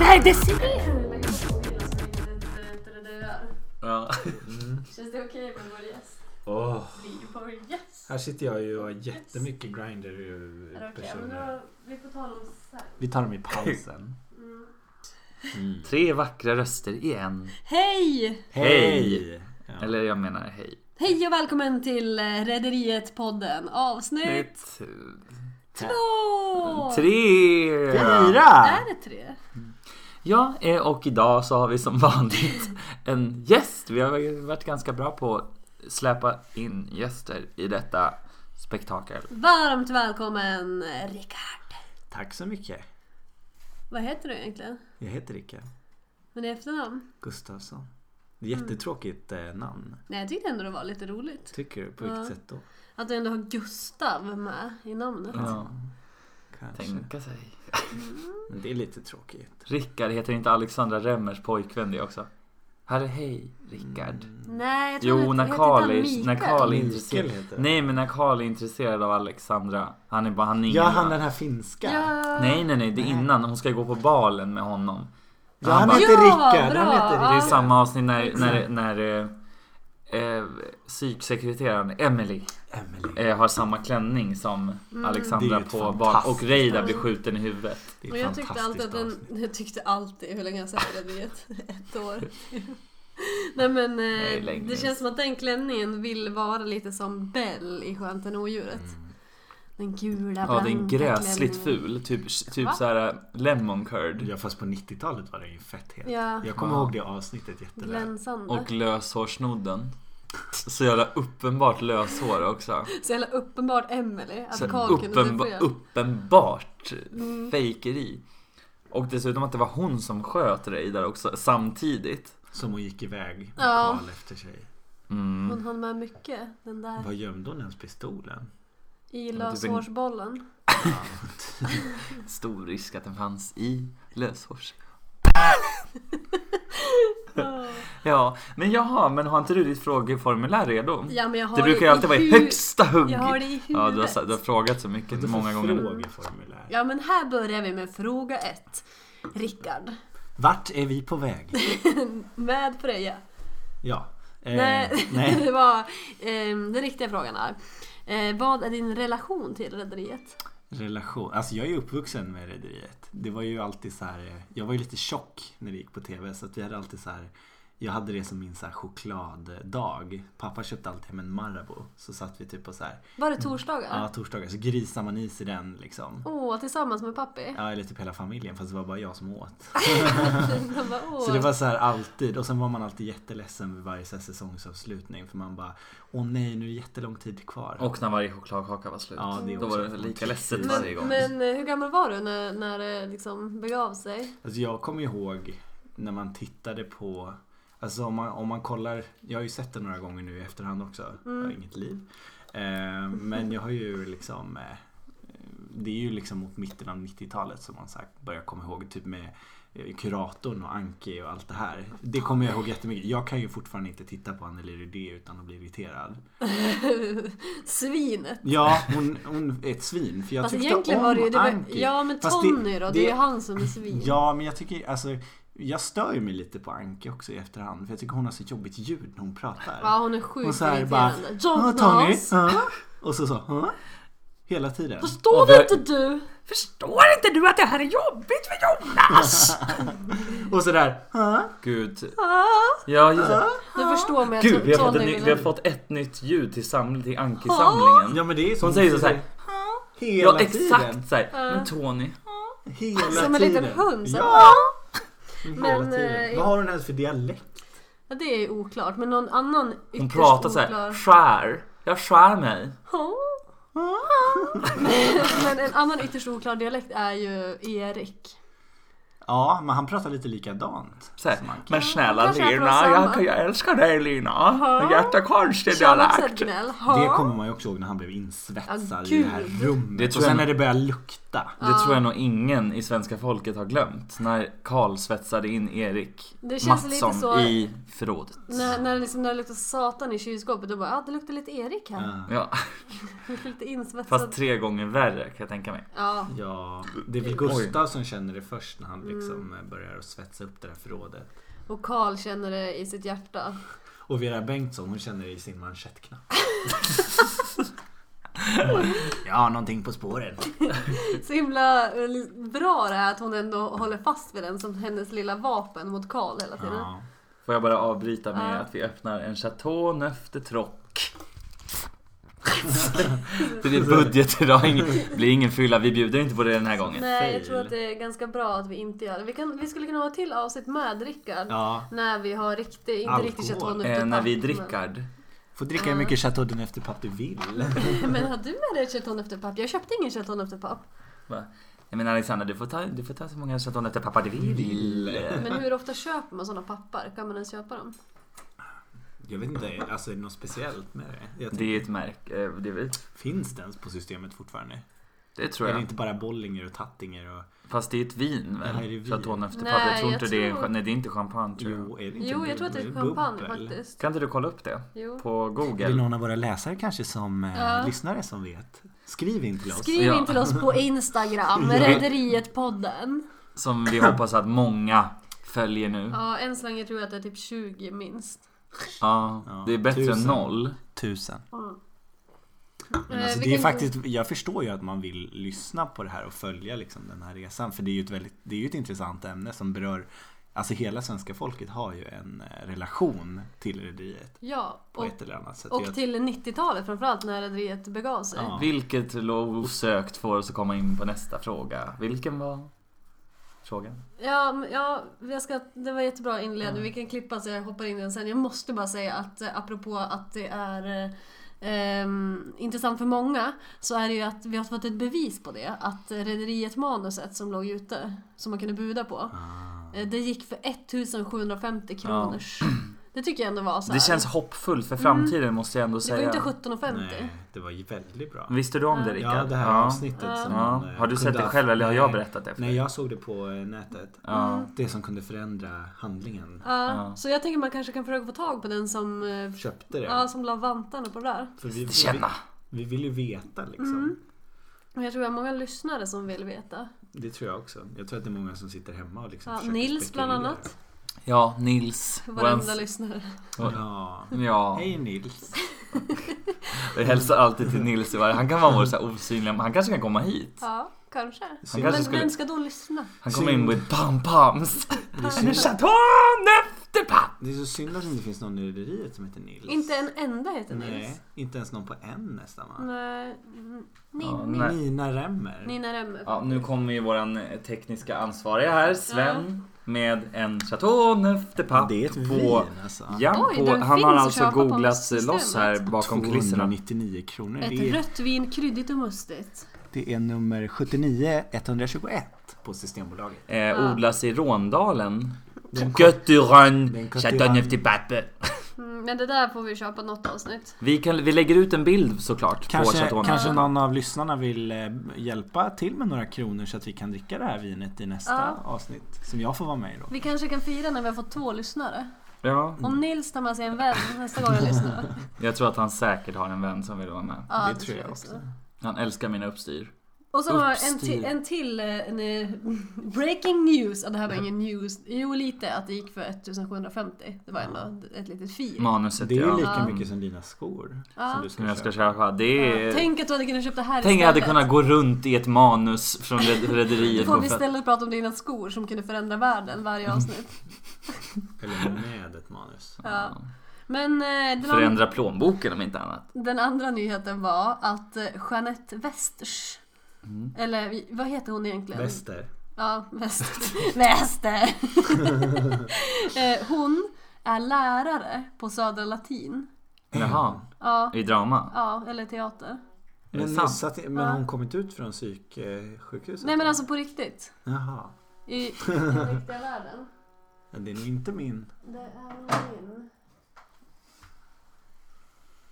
är decibel? Ja. Känns det okej med vår gäst? Åh. Blir du vår gäst? Här sitter jag ju och har jättemycket grinder Okej, men personer. då, vi får tala om sen. Vi tar dem i pausen. Mm. Tre vackra röster i en. Hej! Hej! Ja. Eller jag menar hej. Hej och välkommen till eh, Rederiet-podden avsnitt Ett, två! tre! Fyra! Är det tre? Ja, eh, och idag så har vi som vanligt en gäst. Vi har varit ganska bra på att släpa in gäster i detta spektakel. Varmt välkommen eh, Rickard. Tack så mycket. Vad heter du egentligen? Jag heter Rickard Men i efternamn? Gustafsson. Det Mm. är Jättetråkigt eh, namn. Nej, jag tyckte ändå det var lite roligt. Tycker du? På vilket Ja. sätt då? Att du ändå har Gustav med i namnet. Ja, Kanske. tänka sig. Men det är lite tråkigt. Rickard heter inte Alexandra Remmers pojkvän det också. Här är hej, Rickard. Nej, jag tror Jo, han när heter- Karl heter är, han när Karl är Mikael intresserad. heter det. Nej, men när Karl är intresserad av Alexandra. Han är bara, han är Ja, ingen han den man. här finska. Ja. Nej, nej, nej, det är innan. Hon ska gå på balen med honom. Ja, han bara- heter Ja, Rickard. Han bra. heter Ja. Det är Rickard. samma avsnitt när, när, när eh, eh, psyksekreteraren Emily Emily. eh, har samma klänning som Mm. Det Alexandra är ju ett på barn fantastiskt och Reidar blir skjuten i huvudet. Det är Och ett jag tyckte alltid att fantastiskt den, avsnitt. jag tyckte alltid, hur länge har jag sett Rederiet? Ett år. Nej men eh, Nej, längre. det känns som att den klänningen vill vara lite som Bell i Skönheten och odjuret. Den gula Mm. Ja, den blanka är gräsligt klänningen. ful. Typ, typ Va? såhär lemon curd. Mm. Ja, fast på 90-talet var den ju fett het. Ja, Jag kommer Ja. ihåg det avsnittet jätteväl. glänsande. Och löshårsnodden. Så jävla uppenbart löshår också. Så jävla uppenbart Emily att Så Karl kunde uppenba- se fel. uppenbart Mm. fejkeri. Och dessutom att det var hon som sköt Reidar också samtidigt. Som hon gick iväg med Ja. Karl efter sig. Mm. Hon hann med mycket, den där Var gömde hon ens pistolen? i var typ en- löshårsbollen. Mm. Stor risk att den fanns i löshårs. Ja, men jaha, men har inte du ditt frågeformulär redo? Ja, men jag har det brukar i ju alltid vara i hu- högsta hugg. Jag har det i ja, du har, huvudet. sa- du har frågat så mycket, så många gånger. Frågeformulär. Ja men här börjar vi med fråga ett. Rickard. Vart är vi på väg? Med Freja. Ja. Eh, nej, nej. det var eh, den riktiga frågan här. Eh, vad är din relation till Rederiet? Relation. Alltså jag är ju uppvuxen med Rederiet. Det var ju alltid så här. eh, Jag var ju lite tjock när det gick på TV så att vi hade alltid så här. Jag hade det som min så här chokladdag. Pappa köpte alltid hem en Marabou. Så satt vi typ på så här. Var det torsdagar? Ja, torsdagar. Så grisar man i sig den liksom. Åh, tillsammans med pappi? Ja, eller typ hela familjen fast det var bara jag som åt. De bara, åh. Så det var så här alltid. Och sen var man alltid jätteledsen vid varje så här säsongsavslutning. För man bara, åh nej nu är det jättelång tid kvar. Och när varje chokladkaka var slut. Ja, det är Då också var det lika ledset varje gång. men, men eh, hur gammal var du när, när det liksom begav sig? Alltså jag kommer ihåg när man tittade på Alltså om man, om man kollar, jag har ju sett det några gånger nu i efterhand också. Jag Mm. har inget liv. Eh, men jag har ju liksom eh, Det är ju liksom mot mitten av 90-talet som man så här börjar komma ihåg. Typ med eh, Kuratorn och Anki och allt det här. Det kommer jag ihåg jättemycket. Jag kan ju fortfarande inte titta på Anneli Rudé utan att bli irriterad. Svinet. Ja, hon, hon är ett svin. För jag Fast tyckte egentligen om var det ju... Det var, Anki. ja men Fast det- Tony då, det är det- ju han som är svin. Ja, men jag tycker alltså jag stör ju mig lite på Anki också i efterhand för jag tycker hon har så jobbigt ljud när hon pratar. Ja, hon är hon sjukt så här bara "Ah, irriterande. "Ja, Tommy, Jonas! ja." och så så "Ja." hela tiden. Och Förstår det- inte du? Förstår inte du att det här är jobbigt för Jonas? Och så där "Ja." Gud. Ja, just det. Du Ah. förstår mig att Gud, vi har, fått Tony en ny, vill- vi har fått ett nytt ljud till, saml- till Anki-samlingen. Ja, men det är Hon säger så här. hela Ja, tiden. exakt så här. Men Tony. Hela Som en tiden. liten hund som Ja, hela Men, tiden. eh, Vad har hon ens för dialekt? Ja, det är oklart, men någon annan Hon ytterst pratar så här. oklar- Skär. Jag skär mig. Ja. men en annan ytterst oklar dialekt är ju Erik. Ja, men han pratar lite likadant. Så här, som Anki. men snälla Kanske jag Lina, pratar jag, samma. kan- jag älskar dig Lina. Ja. Jättekonstig Kör också ett dialekt. gnäll. Det Ja. kommer man ju också ihåg när han blev insvetsad Ja, i det här gud. rummet. Det tror jag- och sen när det börjar lukta. Det tror jag nog ingen i svenska folket har glömt. När Karl svetsade in Erik Det känns Mattsson lite så- i förrådet. När, när, det liksom, när det luktar satan i kylskåpet då bara ah, det luktar lite Erik här. Ja. Ja, Lite insvetsad. fast tre gånger värre kan jag tänka mig. Ja. Ja, det är väl Gustav som känner det först när han blir Mm. liksom eh, börjar att svetsa upp det här förrådet. Och Karl känner det i sitt hjärta. Och Vera Bengtsson hon känner det i sin manschettknapp. ja, någonting på spåren. Så himla eh, bra det är att hon ändå håller fast vid den som hennes lilla vapen mot Karl hela tiden. Ja. Får jag bara avbryta med Ja. att vi öppnar en Chateau Neuf de Troc. det blir budget idag, ingen, blir ingen fylla. Vi bjuder inte på det den här gången. Nej, jag fail. tror att det är ganska bra att vi inte gör det. Vi, kan, vi skulle kunna ha till avsnitt med Rickard. ja. När vi har riktig, inte Alkohol. riktigt chateau neuf de Eh, när vi Pape, drickar. Får dricka hur mycket Chateau de efter papp du vill. Men, men har du med dig ett chateau neuf de Pape? Jag köpte ingen chateau neuf de Pape. Jag menar Alexandra, du får ta, du får ta så många Chateau Neuf de pappa du vill. Eh, Men hur ofta köper man sådana pappar? Kan man ens köpa dem? Jag vet inte, alltså är det något speciellt med det? Jag Det är tänker, ett märke. eh, Det, är väl- Finns det ens på systemet fortfarande? det tror Är det jag. inte bara Bollinger och Tattinger och... Fast det är ett vin väl? Ja, är det vin? Chateau Neuf de Nej, Pape. Jag tror jag inte det är... en tror- cha- Nej, det är inte champagne tror jag. Jo, är det inte Jo, jag tror att det är champagne bubbel? faktiskt. Kan inte du kolla upp det? Jo. På Det är Google? någon av våra läsare kanske som eh, Ja. lyssnare som vet. Skriv in till oss. Skriv Ja. in till oss på Instagram, Rederiet-podden. Som vi hoppas att många följer nu. Ja, än så länge tror jag att det är typ 20 minst. Ja, Ja, det är bättre än tusen. noll. Tusen. Mm. Men Eh, alltså, vi det är kan- faktiskt, jag förstår ju att man vill lyssna på det här och följa liksom, den här resan. För det är ju ett väldigt, det är ju ett intressant ämne som berör Alltså hela svenska folket har ju en eh, relation till rederiet Ja, på och, ett eller annat sätt. och Jag- till 90-talet framförallt när Rederiet begav sig. Ja. Vilket lov osökt får oss att komma in på nästa fråga. Vilken var frågan? Ja, men- ja jag ska, det var jättebra inledning. Ja. Vi kan klippa så jag hoppar in i den sen. Jag måste bara säga att eh, apropå att det är eh, ehm, intressant för många så är det ju att vi har fått ett bevis på det. Att eh, Rederiet-manuset som låg ute, som man kunde buda på, Ah. eh, det gick för 1750 kronor. Det tycker jag ändå var så här. Mm. Det känns hoppfullt för framtiden måste jag ändå det var ju säga. inte 1750. Nej, det var ju väldigt bra. Visste du om det Rickard? Ja, det här avsnittet som Ja. man, eh, Har du kunde sett det ha- själv eller har jag Nej. berättat det för Nej, dig? jag såg det på eh, nätet. Ja. Det som kunde förändra handlingen. Ja, Ja. Så jag tänker man kanske kan försöka få tag på den som, eh, Köpte det. ja, som la vantarna på det där. För vi, vi, Känna. vi vill ju veta liksom. Mm. Och jag tror jag har många lyssnare som vill veta. Det tror jag också. Jag tror att det är många som sitter hemma och liksom Ja, försöker Nils spekulera. bland annat. Ja, Nils. Varenda Vans- lyssnare. Ja. Ja, Hej Nils. jag hälsar alltid till Nils. i varje- Han kan vara vår så här osynliga, men han kanske kan komma hit. Ja, kanske. Synd. Men kanske skulle- vem ska då lyssna? Han kommer in with pom-poms. Det är En synd- chaton efter papp! Det är så synd att det inte finns någon i rederiet som heter Nils. Inte en enda heter Nils. Nej, inte ens någon på N nästan va? Nej. mm, Ja, Ni, nej. Nina Remmer. Nina Remmer. Ja, nu kommer ju våran eh, tekniska ansvariga här, Sven, med en Chateau Neuf de Pape Det är ett på... vin alltså. Ja, Oj, på, den han finns har att alltså köpa på googlat Systemet. loss här bakom kulisserna. 299 kronor. Ett Det är, rött vin, kryddigt och mustigt. det är nummer 79 121 på Systembolaget. Eh, odlas i Råndalen. Den kom- Götturan, den kom- Chateau Neuf de Pape. Mm, men det där får vi köpa något avsnitt. Vi, kan, vi lägger ut en bild såklart på Kanske, Chateau Neuf. kanske någon av lyssnarna vill eh, hjälpa till med några kronor så att vi kan dricka det här vinet i nästa Ja. avsnitt. Som jag får vara med i då. Vi kanske kan fira när vi har fått två lyssnare. Ja, Om Nils tar med sig en vän nästa gång han lyssnar. jag tror att han säkert har en vän som vill vara med. Ja, det, tror jag också. Han älskar mina uppstyr. Och så har jag en Uppstyr. till, en till eh, en, eh, breaking news. Ja, det här var ingen news. Jo, lite att det gick för 1750. Det var ändå ett litet fir. Manuset Det är ju ja. lika Ja. mycket som dina skor. Ja. Som du ska Som jag ska köpa. köpa. Det är... Ah, Tänk att du hade kunnat köpa det här Tänk jag istället. hade kunnat gå runt i ett manus från red- Då Rederiet. får vi på- istället prata om dina skor som kunde förändra världen varje Mm. avsnitt. Eller med ett manus. Ja. Men eh, den, an- Förändra plånboken om inte annat. den andra nyheten var att eh, Jeanette Westers Mm. Eller vi- vad heter hon egentligen? Väster. Ja, Wester. Wester! Eh, hon är lärare på Södra Latin. Jaha, Ja, i drama. ja eller teater. Är det Men, sant? så att, men Ja. har hon kommit ut från psyksjukhuset? Nej men alltså på riktigt. Jaha. I, i den riktiga världen. Ja, Det är nog inte min. Det är min.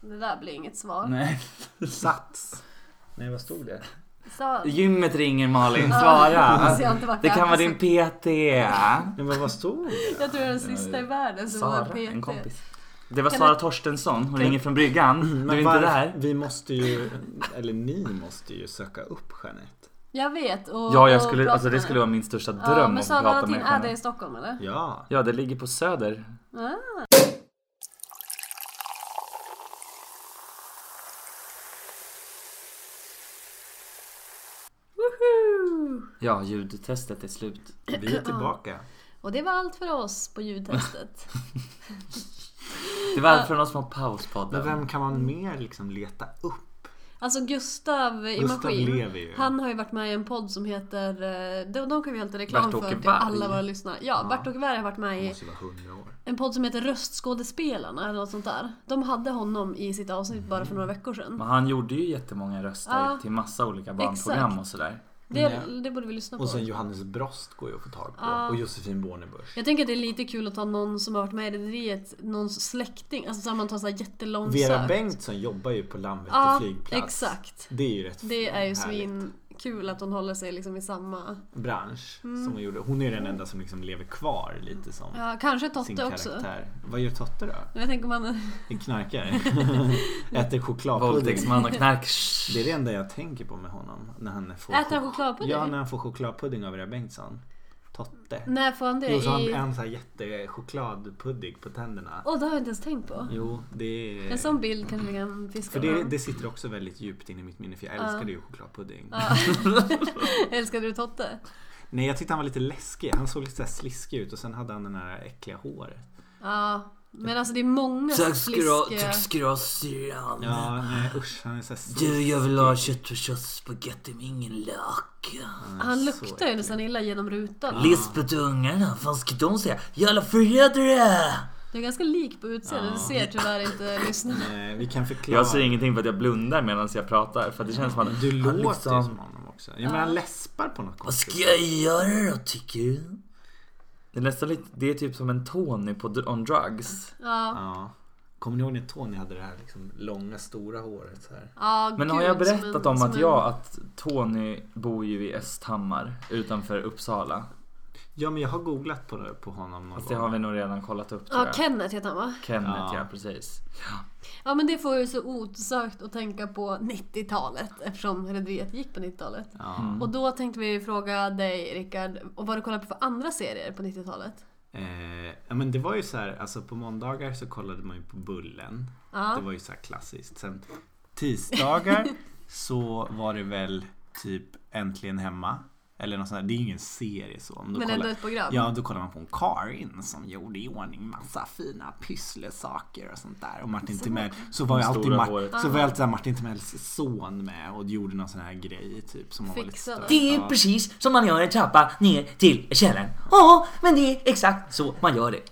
Det där blir inget svar. Nej. Sats. Nej, vad stod det? Så, Gymmet ringer Malin, svara! så jag har inte varit Det kan där. vara din PT. Nej, men vad stod det? Jag tror det är den sista i världen som var Sara, PT. en kompis. Mm, Det var Kan Sara du- Torstensson, hon ringer från bryggan. Du är var- inte där. Vi måste ju, eller ni måste ju söka upp Jeanette. Jag vet. Och, Ja, jag och skulle, alltså det Brottman. skulle vara min största dröm ja, att men Sara prata Valentin med är det henne. i Stockholm eller? Ja. Ja, det ligger på Söder. Ah. Woohoo! Ja, ljudtestet är slut. Vi är tillbaka. Och det var allt för oss på ljudtestet. Det var allt från de små pauspodden. Men vem kan man mer liksom leta upp? Alltså Gustav i Gustav Maskin. lever ju. Han har ju varit med i en podd som heter... eh, De, de kan vi helt reklam Bert-Åke för till Berg. alla våra lyssnare. Ja, Bert-Åke Berg har varit med Han i måste ju vara hundra år. en podd som heter Röstskådespelarna eller något sånt där. De hade honom i sitt avsnitt bara för några veckor sedan. Men han gjorde ju jättemånga röster Ja. till massa olika barnprogram Exakt. och sådär. Det, det borde vi lyssna på. Mm, Och sen Johannes Brost går ju att få tag på. Ja. Och Josefin Bornebusch. Jag tänker att det är lite kul att ta någon som har varit med i rederiet, någons släkting. Alltså så här, man tar så här jättelång Vera sök. Bengtsson jobbar ju på Landvetter Ja, flygplats. exakt. Det är ju rätt Det är ju härligt. svinkul att hon håller sig liksom i samma... bransch som hon gjorde. Hon är ju den enda som liksom lever kvar lite som Mm. Ja, kanske sin Totte också. karaktär. Vad gör Totte då? Men jag tänker man... En knarkare? Äter chokladpudding? Våldtäktsman och knark. Det är det enda jag tänker på med honom. När han får Äter han chok- chokladpudding? Ja, när han får chokladpudding av Vera Bengtsson. Totte. När får han det? Jo, så han I... en sån här jättechokladpudding på tänderna. Åh, det har jag inte ens tänkt på. Jo, det En är... sån bild kanske vi kan fiska För det, fram. det sitter också väldigt djupt in i mitt minne för jag Ja. älskade ju chokladpudding. Ja. Älskade du Totte? Nej, jag tyckte han var lite läskig. Han såg lite så här sliskig ut och sen hade han den här äckliga håret. Ja. Men alltså det är många Tack ska du ha, sliskiga... tack ska du ha syrran. Ja, nej usch. Han är så här Du, jag vill ha sliskig. köttfärssås och spagetti med ingen lök. är Han så luktar ju äcklig. nästan illa genom rutan. Lisbeth och ungarna, vad ska de säga? Jävla förrädare! Du är ganska lik på utseendet. Du Ja. ser tyvärr inte lyssnarna. Nej, vi kan förklara. Jag säger ingenting för att jag blundar medan jag pratar för att det känns som att Du han låter liksom- ju som honom också. Jag menar, han läspar på något Vad konstigt. ska jag göra då tycker du? Det är nästan lite, det är typ som en Tony på Dr- On Drugs. Ja. Ja. Kommer ni ihåg när Tony hade det här liksom långa, stora håret så här? Ja, Men har gud, jag som berättat en- om som att en- jag, att Tony bor ju i Östhammar utanför Uppsala? Ja, men jag har googlat på, det, på honom någon Fast det gång. har vi nog redan kollat upp tror Ja, jag. Kenneth heter han va? Kenneth Ja. ja, precis. Ja men det får ju så osökt att tänka på 90-talet eftersom Rederiet gick på 90-talet. Ja. Mm. Och då tänkte vi fråga dig Rickard, och vad du kollar på för andra serier på 90-talet? Eh, ja, men det var ju så här, alltså på måndagar så kollade man ju på Bullen. Det Ja. var ju så här klassiskt. Sen tisdagar så var det väl typ Äntligen Hemma. Eller något sånt där. Det är ju ingen serie så. Men, då Men kollar- ändå ett program. Ja, då kollar man på en Karin som gjorde i ordning massa fina pysslesaker och sånt där. Och Martin Timell. Så var ju Det alltid, stora Mar- håret. så var ju alltid så här Martin Timells son med och gjorde någon sån här grej typ. Som man var lite Fixade. störd Det är av. precis som man gör en trappa ner till källaren. Ja, men det är exakt så man gör det.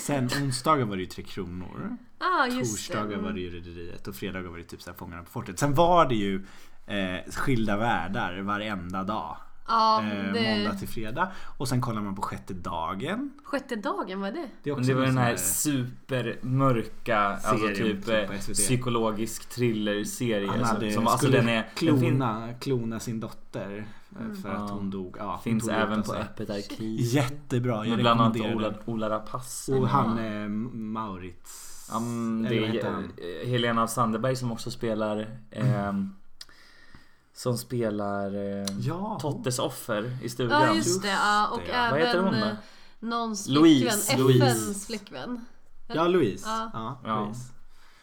Sen onsdagar var det ju Tre Kronor. Ah, just det. Torsdagar var det ju Rederiet och fredagar var det typ så här Fångarna på fortet. Sen var det ju eh, skilda världar varenda dag. Ja, eh, Måndag det... till fredag. Och sen kollar man på sjätte dagen. Sjätte dagen, vad är det? Det, är Men det en var den sån här supermörka, alltså Serien typ typ på eh, SVT. psykologisk Han thrillerserie. hade, Som, som, alltså skulle den är... Den fin, klona, klona sin dotter eh, Mm. för att Ja. hon dog. Ja, hon finns tog ut även av på sig. Öppet arkiv. Jättebra, alltså. jag Med bland annat rekommenderar Ola, den. Ola Rapace. Och han eh, Maurits... Ja, men eller det vad är heter eh, han? Helena af Sanderberg som också spelar... ehm, som spelar eh, Ja, hon. Tottes offer i stugan. Ja just det, ja. och Just det, ja. Vad heter hon även då? eh, någons Louise, flickvän, Louise. FNs flickvän. Ja, Louise. Ja. Ja, Ja. Louise.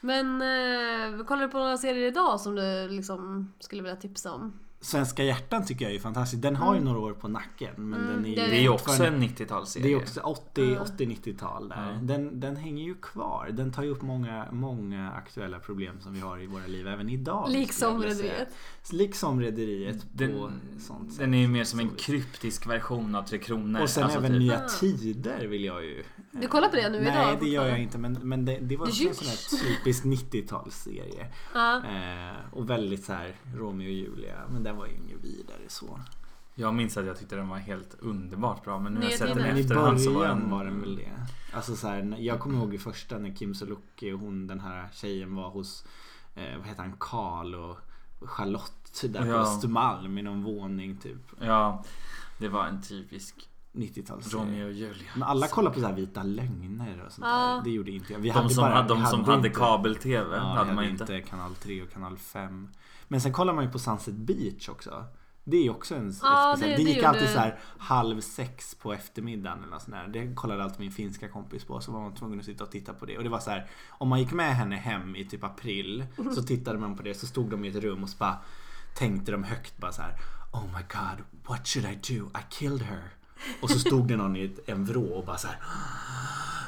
Men eh, kollar du på några serier idag som du liksom skulle vilja tipsa om? Svenska hjärtan tycker jag är fantastisk. Den har ju några år på nacken. Men Mm, den är ju det Det är ju också fortfarande- en Det är 90-talsserie. också 80, 80-90-tal där. Ja. Den, den hänger ju kvar. Den tar ju upp många, många aktuella problem som vi har i våra liv även idag. Liksom skulle jag vilja Rederiet. säga. Liksom Rederiet på Den, sånt sätt. den är ju mer som en kryptisk version av Tre Kronor. Och sen Alltså även typ- Nya Tider vill jag ju... Du kollar på det Ah. nu Eh, idag? Nej, det gör fortfarande? jag inte. Men, men det, det var Det Ah. också en ljuger. sån här typisk 90-talsserie. Ja. Eh, och väldigt så här Romeo och Julia. Men den var ju ingen vidare så. Jag minns att jag tyckte den var helt underbart bra men nu har Nya jag sett den Tider. i Men i efterhand så var början den... var den väl det. Alltså så här, när- jag kommer ihåg i första när Kim Sulocki och hon den här tjejen var hos eh, vad heter han, Karl och Charlotte typ där på Ja. Östermalm i någon våning typ. Ja, det var en typisk 90-talsserie. Romeo och Julia. Men alla kollar på så här vita lögner och sånt Ja. där. Det gjorde inte jag. Vi De som, bara- hade, de vi som hade inte- kabel-tv Ja, vi hade man inte. kanal 3 och kanal 5. Men sen kollar man ju på Sunset Beach också. Det är ju också en Ja, eftersändning. det- Det det gick alltid gjorde- så här halv sex på eftermiddagen eller något sånt där. Det kollade alltid min finska kompis på så var man tvungen att sitta och titta på det. Och det var så här, om man gick med henne hem i typ april Mhm. så tittade man på det så stod de i ett rum och så bara tänkte de högt bara så här Oh my god, what should I do? I killed her. Och så stod det någon i ett- en vrå och bara så här.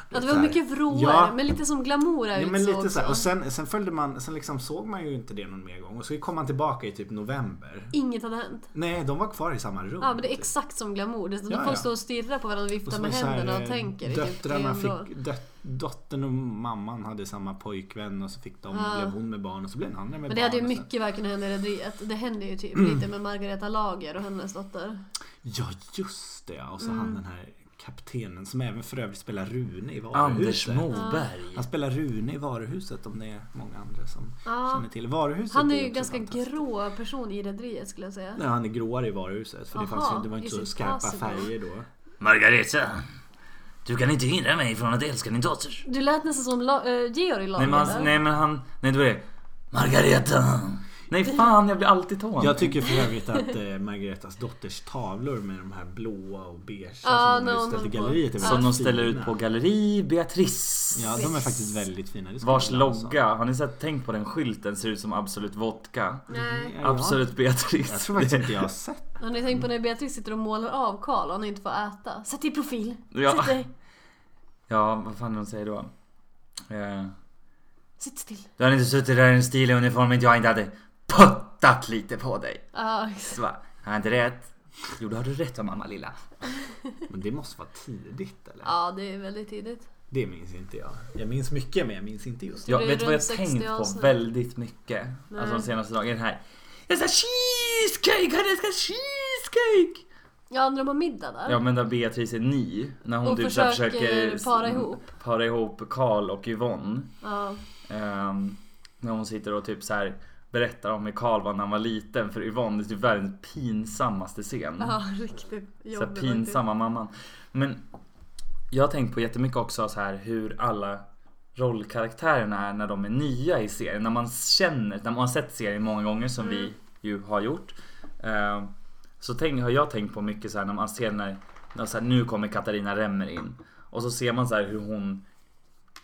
Ja, det Så var här, mycket vråare, Ja. men lite som glamour Ja, utsåg men lite så här. så. Och sen, sen följde man, sen liksom såg man ju inte det någon mer gång. Och så kom man tillbaka i typ november. Inget hade hänt. Nej, de var kvar i samma rum. Ja men det är typ. exakt som glamour. Det är Ja, folk ja. står och stirrar på varandra och Och viftar så med var det så här, händerna och eh, tänker i typ Döttrarna 300 år. fick, dött, dottern och mamman hade samma pojkvän och så fick de, Ja. blev hon med barn och så Mm. blev den andra med Men barn. det hade ju och sen- mycket verkligen hänt i Rederiet. Det hände ju typ lite med Margareta Lager och hennes dotter. Ja, just det. Och så Mm. han den här kaptenen som även för övrigt spelar Rune i Anders varuhuset. Moberg. Han spelar Rune i varuhuset om det är många andra som Ja. känner till. Varuhuset Han är ju också ganska fantastiskt. grå person i Rederiet skulle jag säga. Nej, han är gråare i varuhuset för det, Aha, fanns, ju- det var inte is så it skarpa possible? färger då. Margareta, du kan inte hindra mig från att älska din dotter. Du lät nästan som La- eh, Georg Nej Lager men, där. han, nej men han, nej det var det. Margareta. Nej fan, jag blir alltid tån. Jag tycker för övrigt att eh, Margaretas dotters tavlor med de här blåa och beige Ja, som de har någon utställt i håller på. galleriet är Som de väldigt ställer fina. ut på galleri Beatrice. Ja, de är faktiskt väldigt fina. Det ska Vars man alltså. logga, har ni sett, tänkt på den skylten? Ser ut som Absolut Vodka. Nej. Ja, Absolut Beatrice. Jag tror faktiskt inte jag har sett. Har ni tänkt på när Beatrice sitter och målar av Karl och han inte får äta? Sätt dig i profil! Ja. Sätt dig! Ja, vad fan de säger då? Eh, Sitt still! Du har inte suttit där i en stilig uniform inte jag inte hade puttat lite på dig. Ja, Så bara, har jag inte rätt? Jo, då har du rätt va, mamma lilla. Men det måste vara tidigt eller? ja, det är väldigt tidigt. Det minns inte jag. Jag minns mycket men jag minns inte just det. jag det är vet du vad jag runt 60 tänkt på avsnitt. väldigt mycket? Alltså de senaste dagarna här. Jag ska cheesecake! Jag ska cheesecake! Ja, när de har middag där. Ja men där Beatrice är ny. När hon Och typ så här försöker försöker para ihop. para ihop Karl och Yvonne. Ja. Ehm, när hon sitter och typ så här berättar om hur Karl var när han var liten för Yvonne är typ världens pinsammaste scen. Ja, riktigt Så jobbigt. här pinsamma mamman. Men jag har tänkt på jättemycket också så här hur alla rollkaraktärerna är när de är nya i serien. När man känner, när man har sett serien många gånger som vi ju har gjort. Eh, Så tänk, har jag tänkt på mycket så här när man ser när, när så här, nu kommer Katarina Remmer in. Och så ser man så här hur hon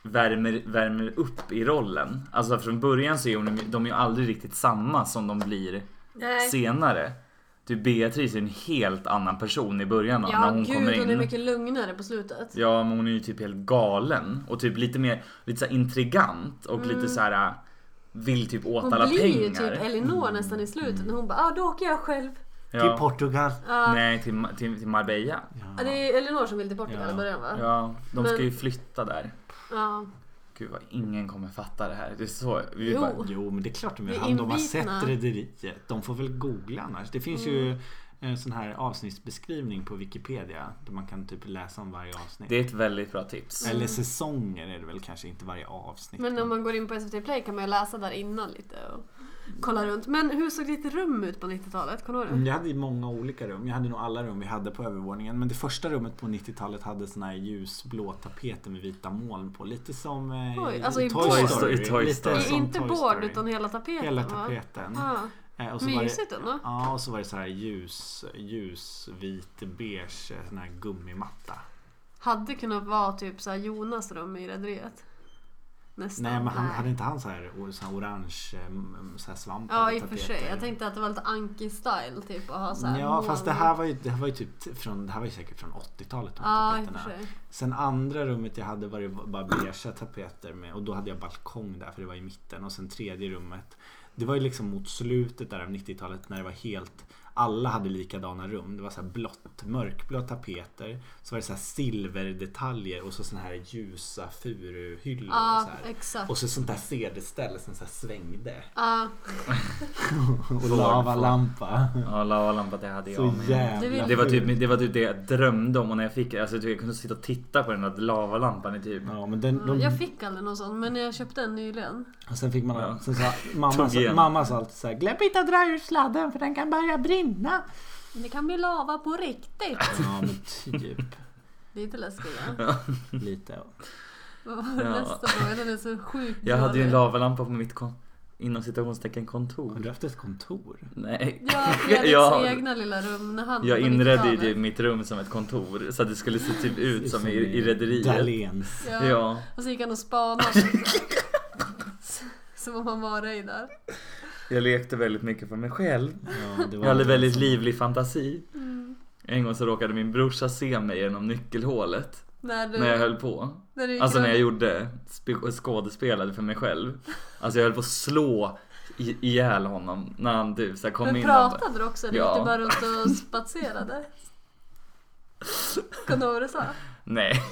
värmer, värmer upp i rollen. Alltså från början så är hon, de är ju aldrig riktigt samma som de blir Nej. senare. Du Beatrice är en helt annan person i början av Ja, när hon gud, kommer in. hon är mycket lugnare på slutet. Ja men hon är ju typ helt galen och typ lite mer lite så här intrigant och lite så här äh, vill typ Mm. åt Hon alla blir ju pengar. Mm. typ Elinor nästan i slutet när hon bara ah, då åker jag själv. Till ja. Portugal. Nej till, Ma- till, till Marbella. Ja. Det är Elinor som vill till Portugal Ja. i början va? Ja. Ja, de ska Men- ju flytta där. Gud vad ingen kommer fatta det här. Det är så, vi Jo. bara, Jo men det är klart de Vi gör. är Om de har inbitna. sett Rederiet. De får väl googla annars. Det finns Mm. ju en sån här avsnittsbeskrivning på Wikipedia. Där man kan typ läsa om varje avsnitt. det är ett väldigt bra tips. Eller säsonger är det väl kanske inte varje avsnitt. Men om man går in på SVT Play kan man ju läsa där innan lite och kolla runt. Men hur såg ditt rum ut på 90-talet? Kommer du ihåg Mm, det? Jag hade ju många olika rum. Jag hade nog alla rum vi hade på övervåningen. Men det första rummet på 90-talet hade såna här ljusblå tapeter med vita moln på. Lite som eh, Oj, alltså i Toy, board. Story. I Toy Lite Story. som Eh, Inte Toy bord Story. utan hela tapeten Hela va? tapeten. Ja. Eh, och så var det- Mysigt ändå. Ja, och så var det så här ljus, ljusvit beige eh, sån här gummimatta. Hade kunnat vara typ så här Jonas rum i Rederiet. Nästan. Nej, men han, hade inte han så här, o- så här orange eh, m- så här svampade Ja i och för tapeter? sig. Jag tänkte att det var lite Anki-style typ att ha så här Ja, fast det moln. här var ju, det här var ju typ t- från, det här var ju säkert från 80-talet. de Ja i och tapeterna. för sig. Sen andra rummet jag hade var det bara beigea tapeter med och då hade jag balkong där för det var i mitten och sen tredje rummet Det var ju liksom mot slutet där av 90-talet när det var helt Alla hade likadana rum. Det var så här blått, mörkblå tapeter Så var det så här silverdetaljer och så såna här ljusa furuhyllor och Ja så här. exakt. Och så sånt där CD-ställe som så här svängde Ja. Och lavalampa Ja, lavalampan det hade Så jag med. jävla Det var, typ, sjukt. det var typ det jag drömde om och när jag fick alltså, jag kunde sitta och titta på den där lavalampan i typ Ja, men den, de, Jag fick aldrig någon sån men jag köpte en nyligen. Och sen fick man Ja. sen sa, mamma, Tog sa, igen. mamma sa alltid så här Glöm inte att dra ur sladden för den kan börja brinna. Det kan bli lava på riktigt. Ja men typ Lite läskigt va? lite. Vad var det Ja. nästa fråga? Den är så sjukt Jag hade ju en dålig. lavalampa på mitt kon- inom citationstecken Har du kontor. haft ett kontor? Nej. Ja, Fredriks Jag- egna lilla rum när han Jag på inredde ju 90-talet. det- mitt rum som ett kontor så att det skulle se typ ut som i, i Rederiet. Dahléns. Ja. Ja. Och så gick han och spanade. Som om han var dig där. Jag lekte väldigt mycket för mig själv. Ja, det var Jag hade inte väldigt som- livlig fantasi. En gång så råkade min brorsa se mig genom nyckelhålet När du, när jag höll på. när du gick Alltså när jag runt. gjorde sp- skådespelade för mig själv. Alltså jag höll på att slå i- ihjäl honom när han typ så här kom Men in. och bara- pratade du också? Eller Ja. gick du bara runt och spatserade? Kommer du ihåg vad du sa? Nej.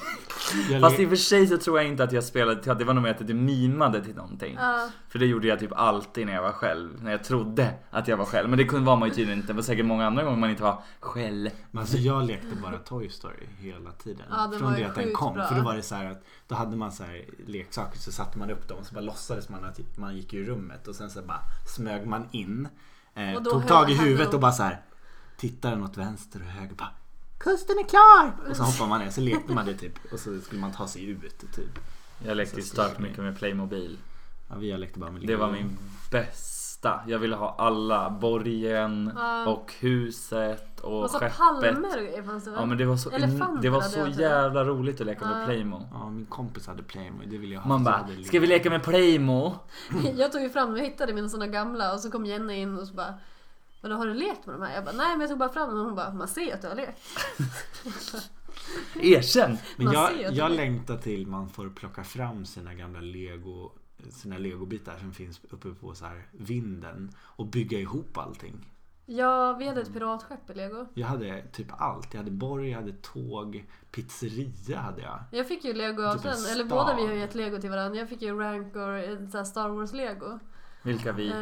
Jag Fast le- i och för sig så tror jag inte att jag spelade teater. Det var nog mer att det mimade till någonting. Ja. För det gjorde jag typ alltid när jag var själv. När jag trodde att jag var själv. Men det kunde vara man ju tydligen inte. Det var säkert många andra gånger man inte var själv. Men alltså jag lekte bara Toy Story hela tiden. Ja, den Från var ju det att den sjukt kom. bra. För då var det så här att då hade man så här leksaker så satte man upp dem och så bara låtsades man att man gick i rummet och sen så bara smög man in. Eh, Och då tog tag i höll han huvudet upp. och bara så här tittade åt vänster och höger bara Kusten är klar! Och så hoppade man ner så lekte man det typ och så skulle man ta sig ut typ. Jag lekte ju starkt mycket med Playmobil. Ja, vi lekte bara med Det var min bästa. Jag ville ha alla. Borgen Ja. och huset och, Och så skeppet. palmer fanns det väl? Ja men det var så, Elefanter det var hade så jag, tror jag. jävla roligt att leka med Ja. Playmo. Ja, min kompis hade Playmobil. Det ville jag ha. Man så jag bara, hade ska vi leka med Playmo? Jag tog ju fram, jag hittade mina såna gamla och så kom Jenny in och så bara Vadå har du lekt med de här? Jag bara nej men jag tog bara fram dem och hon bara man ser ju att du har lekt. Erkänn! Men Man jag, ser ju att jag det- längtar till man får plocka fram sina gamla lego sina legobitar som finns uppe på så här vinden och bygga ihop allting. Ja vi hade ett Mm. piratskepp i lego. Jag hade typ allt. Jag hade borg, jag hade tåg, pizzeria hade jag. Jag fick ju lego av Typ en den, eller stad. båda vi har ju gett lego till varandra. Jag fick ju Rancor, ett så här Star Wars lego. Vilka vi? Eh,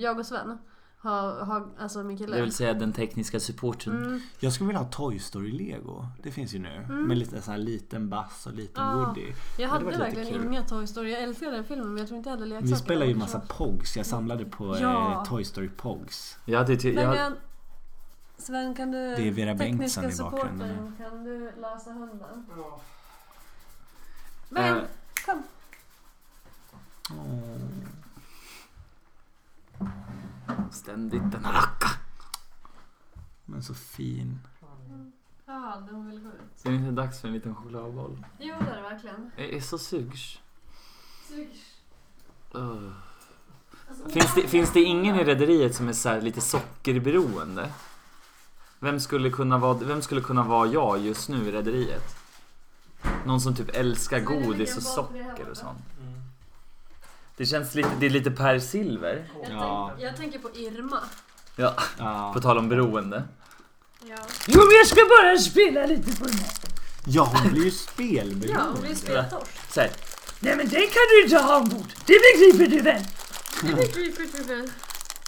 jag och Sven. Har, har, alltså min Det kille. vill säga den tekniska supporten. Mm. Jag skulle vilja ha Toy Story Lego. Det finns ju nu. Med lite så här liten Buzz och liten Mm. Ja. Woody. Jag det hade var lite verkligen kul. inga Toy Story. Jag älskade den filmen men jag tror inte jag hade leksaker. Vi spelade ju där. massa Pogs. Jag samlade på Ja. eh, Toy Story Pogs. Jag hade ty- Men jag, jag... Sven kan du... Det är Vera tekniska Bengtsson i bakgrunden. supporten, Kan du lösa hunden? Men Eh. kom. ständigt denna racka. Men så fin. Jaha, hon vill gå ut. Är det inte dags för en liten chokladboll? Jo, det är det verkligen. Jag är så sugs. Sugs. Ugh. Finns, det, finns det ingen i rederiet som är så här lite sockerberoende? Vem skulle, kunna vara, vem skulle kunna vara jag just nu i rederiet? Någon som typ älskar Ska vi lägga godis en boll och till det här socker borta? och sånt. Mm. Det känns lite, det är lite Per Silver. Jag, Ja. tänk, jag tänker på Irma. Ja. Ja. På tal om beroende. Ja, Jo, men jag ska bara spela lite på den här. ja, hon blir ju spelberoende. ja hon blir speltorsk. Så här, Nej, men det kan du inte ha ombord. Det begriper du väl?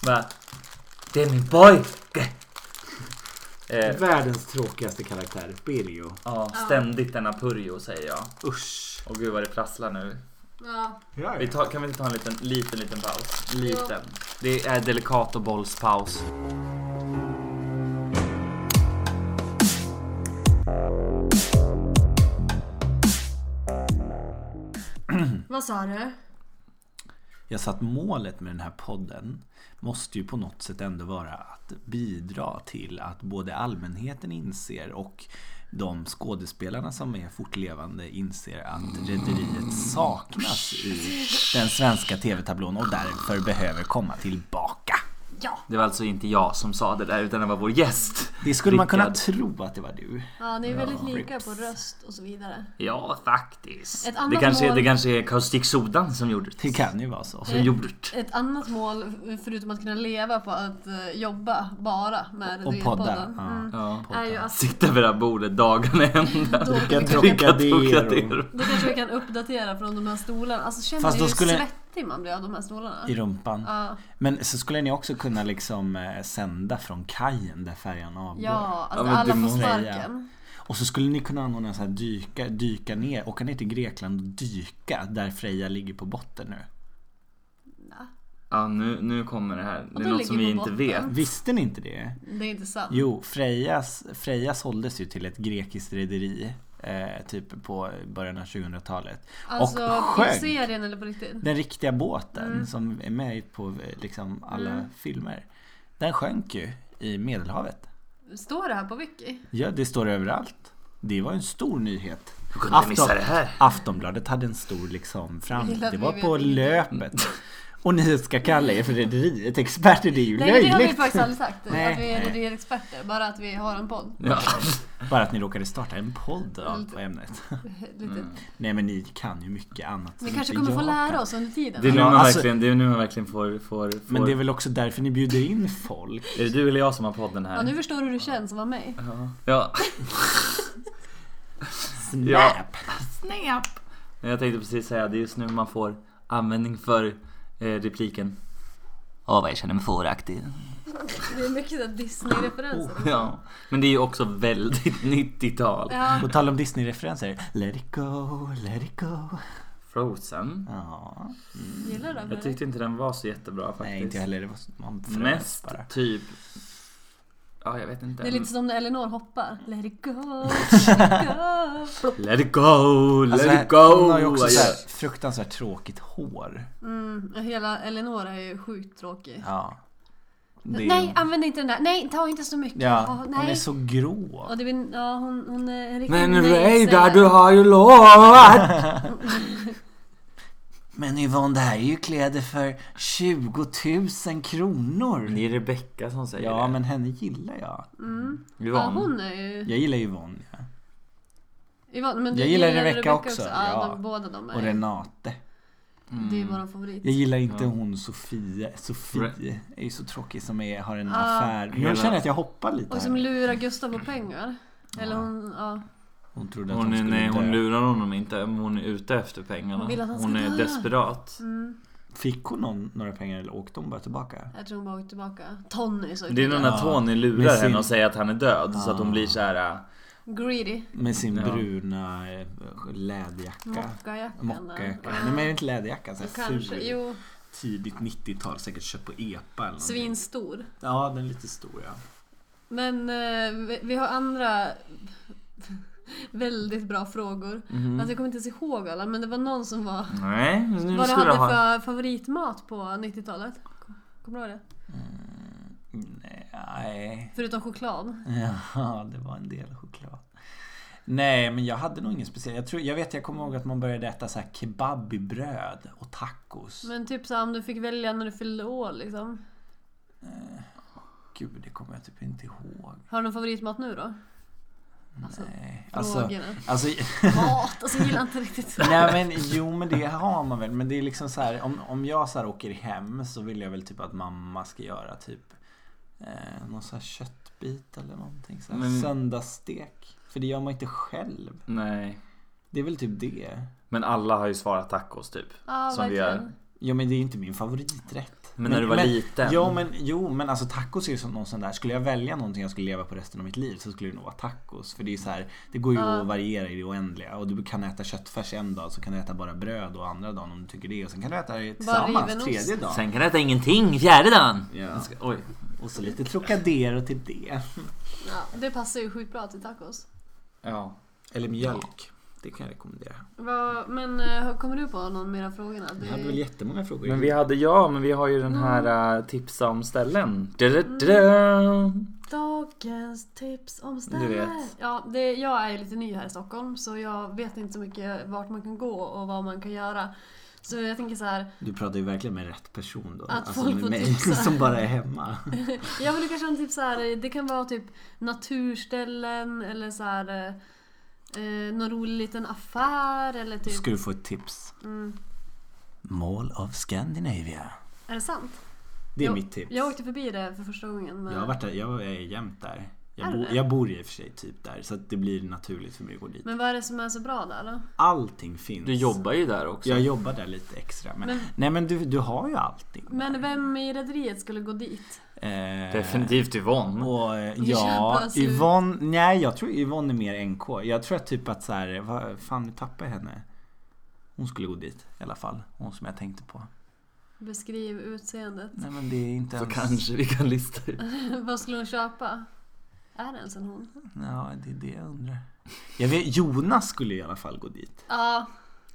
bara, det är min pojke! Eh, Världens tråkigaste karaktär, Birjo. ja, ständigt denna purjo säger jag. Usch. Och gud vad det prasslar nu. Ja, Vi tar, kan vi inte ta en liten, liten, liten paus? Liten. Det är delikat och bollspaus. vad sa du? Jag sa att målet med den här podden måste ju på något sätt ändå vara att bidra till att både allmänheten inser och de skådespelarna som är fortlevande inser att Rederiet saknas i den svenska tv-tablån och därför behöver komma tillbaka. Det var alltså inte jag som sa det där utan det var vår gäst. Det skulle man kunna Rickard. tro att det var du. Ja, ni är väldigt lika på röst och så vidare. Ja, faktiskt. Ett annat det, kanske, mål- det kanske är kaustiksodan som gjorde Det det. kan ju vara så. Som gjorde det. Ett annat mål, förutom att kunna leva på att eh, jobba bara med Och podda. podden, Ja. mm, Ja. är ju att Sitta vid det här bordet dagarna i ända. då, Dricka Dricka Trocadero. Trocadero. då kanske vi kan uppdatera från de här stolarna. Alltså känner Fast ni då hur skulle- svettig man blir av de här stolarna? I rumpan. Ja. Men så skulle ni också kunna liksom eh, sända från kajen där färjan avgår. Ja, alltså men alla du får måste- sparken. Och så skulle ni kunna anordna en sån här dyka, dyka ner, åka ner till Grekland och dyka där Freja ligger på botten nu. Ja, nu, nu kommer det här. Det då är något som ligger vi på inte vet. botten. Visste ni inte det? Det är inte sant. Jo, Frejas, Freja såldes ju till ett grekiskt rederi eh, typ på början av 2000-talet. Alltså i sjönk. serien eller på riktigt? Den riktiga båten Mm. som är med på eh, liksom alla Mm. filmer. Den sjönk ju i Medelhavet. Står det här på wiki? Ja, det står överallt. Det var en stor nyhet. Hur kunde jag missa Afton- det här? Aftonbladet hade en stor liksom fram. Jag gillar att Det vi var vet på inte. löpet. Och ni ska kalla er för Rederiet experter, det är ju Nej men det har vi löjligt. faktiskt aldrig sagt. Nej. att vi är Nej. rederiexperter. Bara att vi har en podd. Ja. Bara att ni råkade starta en podd av- Mm. på ämnet. Lite. Mm. Mm. Nej men ni kan ju mycket annat. Vi som kanske inte kommer få jag kan. lära oss under tiden. Det är nu Ja, man alltså- verkligen, det är nu man verkligen får, får, får... Men det är väl också därför ni bjuder in folk. Är det du eller jag som har podden här? Ja, nu förstår du hur det känns som var mig. Ja. ja. Snap! Ja. Men Jag tänkte precis säga, det är just nu man får användning för eh, repliken. Ja, vad jag känner mig fåraktig. Det är mycket så här Oh, Disney-referenser. Oh, Ja. Men det är ju också väldigt 90-tal. Ja, På tal om Disney-referenser. Let it go, let it go. Frozen. Ja. Mm. gillar du Jag tyckte inte den var så jättebra faktiskt. Nej inte jag heller. Det var så- man frös Mest bara. typ... Ja, jag vet inte. Det är lite som när Eleanor hoppar. Let it go, let it go. Let it go, let Alltså, it go! Hon har ju också Ja, så här fruktansvärt tråkigt hår. Mm, hela Eleanor är ju sjukt tråkig. Ja. Det är- Nej, använd inte den där. Nej, ta inte så mycket. Ja, Ja, hon är nej. så grå. Och det blir, ja, hon, hon är en riktig Men nej-sägare. Reidar, du har ju lovat! Men Yvonne, det här är ju kläder för 20 000 kronor. Det är Rebecca som säger Ja, det. men henne gillar jag. Mm. Ja, Yvonne. hon är ju... Jag gillar Yvonne. Ja. Yvonne, men du Jag gillar gillar Rebecca Rebecca också, Ja, ja. De, båda de är. Och Renate. Mm. Det är ju vår favorit. Jag gillar inte Ja. hon Sofie. Sofie är ju så tråkig som är, har en Ah. affär. Men Hela- jag känner att jag hoppar lite Och som här. lurar Gustav på pengar. Eller hon, ja. Hon trodde att hon, Hon, är, skulle nej, hon dö. lurar honom inte, men hon är ute efter pengarna. Hon vill att han ska är dö. desperat. Mm. Fick hon någon, några pengar eller åkte hon bara tillbaka? Jag tror hon bara åkte tillbaka. Tony så Det är nog när Ja. Tony Med lurar sin- henne och säger att han är död så att hon Ah. blir så här. äh, Greedy. Med sin Ja. bruna eh, läderjacka. Mockajackan. Mockajacka. Ja. Nej men är det inte läderjacka? Så Och här Kanske, ful. jo. Tidigt 90-tal, säkert köpt på EPA eller någonting. Svinstor. Ja, den är lite stor ja. Men eh, vi, vi har andra väldigt bra frågor. Mhm. Alltså, jag kommer inte ens ihåg alla, men det var någon som var... Nej, nu Vad du skulle hade jag ha. för favoritmat på 90-talet? Kommer du ihåg det? Nej. Förutom choklad. Ja, det var en del choklad. Nej, men jag hade nog ingen speciell. Jag, tror, jag vet, jag kommer ihåg att man började äta så här kebab i bröd och tacos. Men typ så här, om du fick välja när du fyllde år liksom. Gud, det kommer jag typ inte ihåg. Har du någon favoritmat nu då? Alltså, Nej. Alltså, Frågorna. alltså, Mat! Alltså jag gillar inte riktigt. nej men jo men det har man väl. Men det är liksom så här, om, om jag så här åker hem så vill jag väl typ att mamma ska göra typ eh, någon så här köttbit eller någonting. Så här. Men- Söndagsstek. För det gör man inte själv. Nej. Det är väl typ det. Men alla har ju svarat tacos typ. Ja, Som vi verkligen. gör. Ja men det är inte min favoriträtt. Men, när du var liten. Ja men jo men alltså tacos är ju som någon sån där. Skulle jag välja någonting jag skulle leva på resten av mitt liv så skulle det nog vara tacos. För det är så här, det går ju Ja. att variera i det oändliga. Och du kan äta köttfärs en dag så kan du äta bara bröd och andra dagen om du tycker det. Och sen kan du äta det riven tillsammans ost. tredje dagen. Sen kan jag äta ingenting fjärde dagen. Ja. Oj. Och så lite Trocadero till det. Ja, det passar ju sjukt bra till tacos. Ja. Eller mjölk. Det kan jag rekommendera. Vad- Men eh, kommer du på någon mer av frågorna? Jag hade väl jättemånga frågor. Men vi hade, ja men vi har ju den här äh, tipsa om ställen. Da-da-da. Dagens tips om ställen. Du vet. Ja, det, jag är ju lite ny här i Stockholm så jag vet inte så mycket vart man kan gå och vad man kan göra. Så jag tänker så här, Du pratar ju verkligen med rätt person då. Alltså Att folk får med mig tipsa. som bara är hemma. jag vill kanske ha en tips så här, det kan vara typ naturställen eller så här eh, någon rolig liten affär eller typ... Ska du få ett tips. Mm, Mall of Scandinavia. är det sant? Det är Jag- mitt tips. Jag åkte förbi det för första gången. Men... Jag har varit där, jag är jämt där. Är Jag, du bo, det? jag bor i och för sig typ där så att det blir naturligt för mig att gå dit. Men vad är det som är så bra där då? Allting finns. Du jobbar ju där också. Jag jobbar där lite extra. Men, Men- nej men du, du har ju allting. Men vem i Rederiet skulle gå dit? Eh, Definitivt Yvonne. Och, eh, Vi ja, köper oss ur. Yvonne, nej jag tror Yvonne är mer NK. Jag tror att typ att så här, vad fan nu tappar jag henne. Hon skulle gå dit i alla fall. Hon som jag tänkte på. Beskriv utseendet. Nej men det är inte Så ens... kanske vi kan lista ut. vad skulle hon köpa? Är det ens en hon? Ja, det är det jag undrar. Jag vet, Jonas skulle i alla fall gå dit. Ja,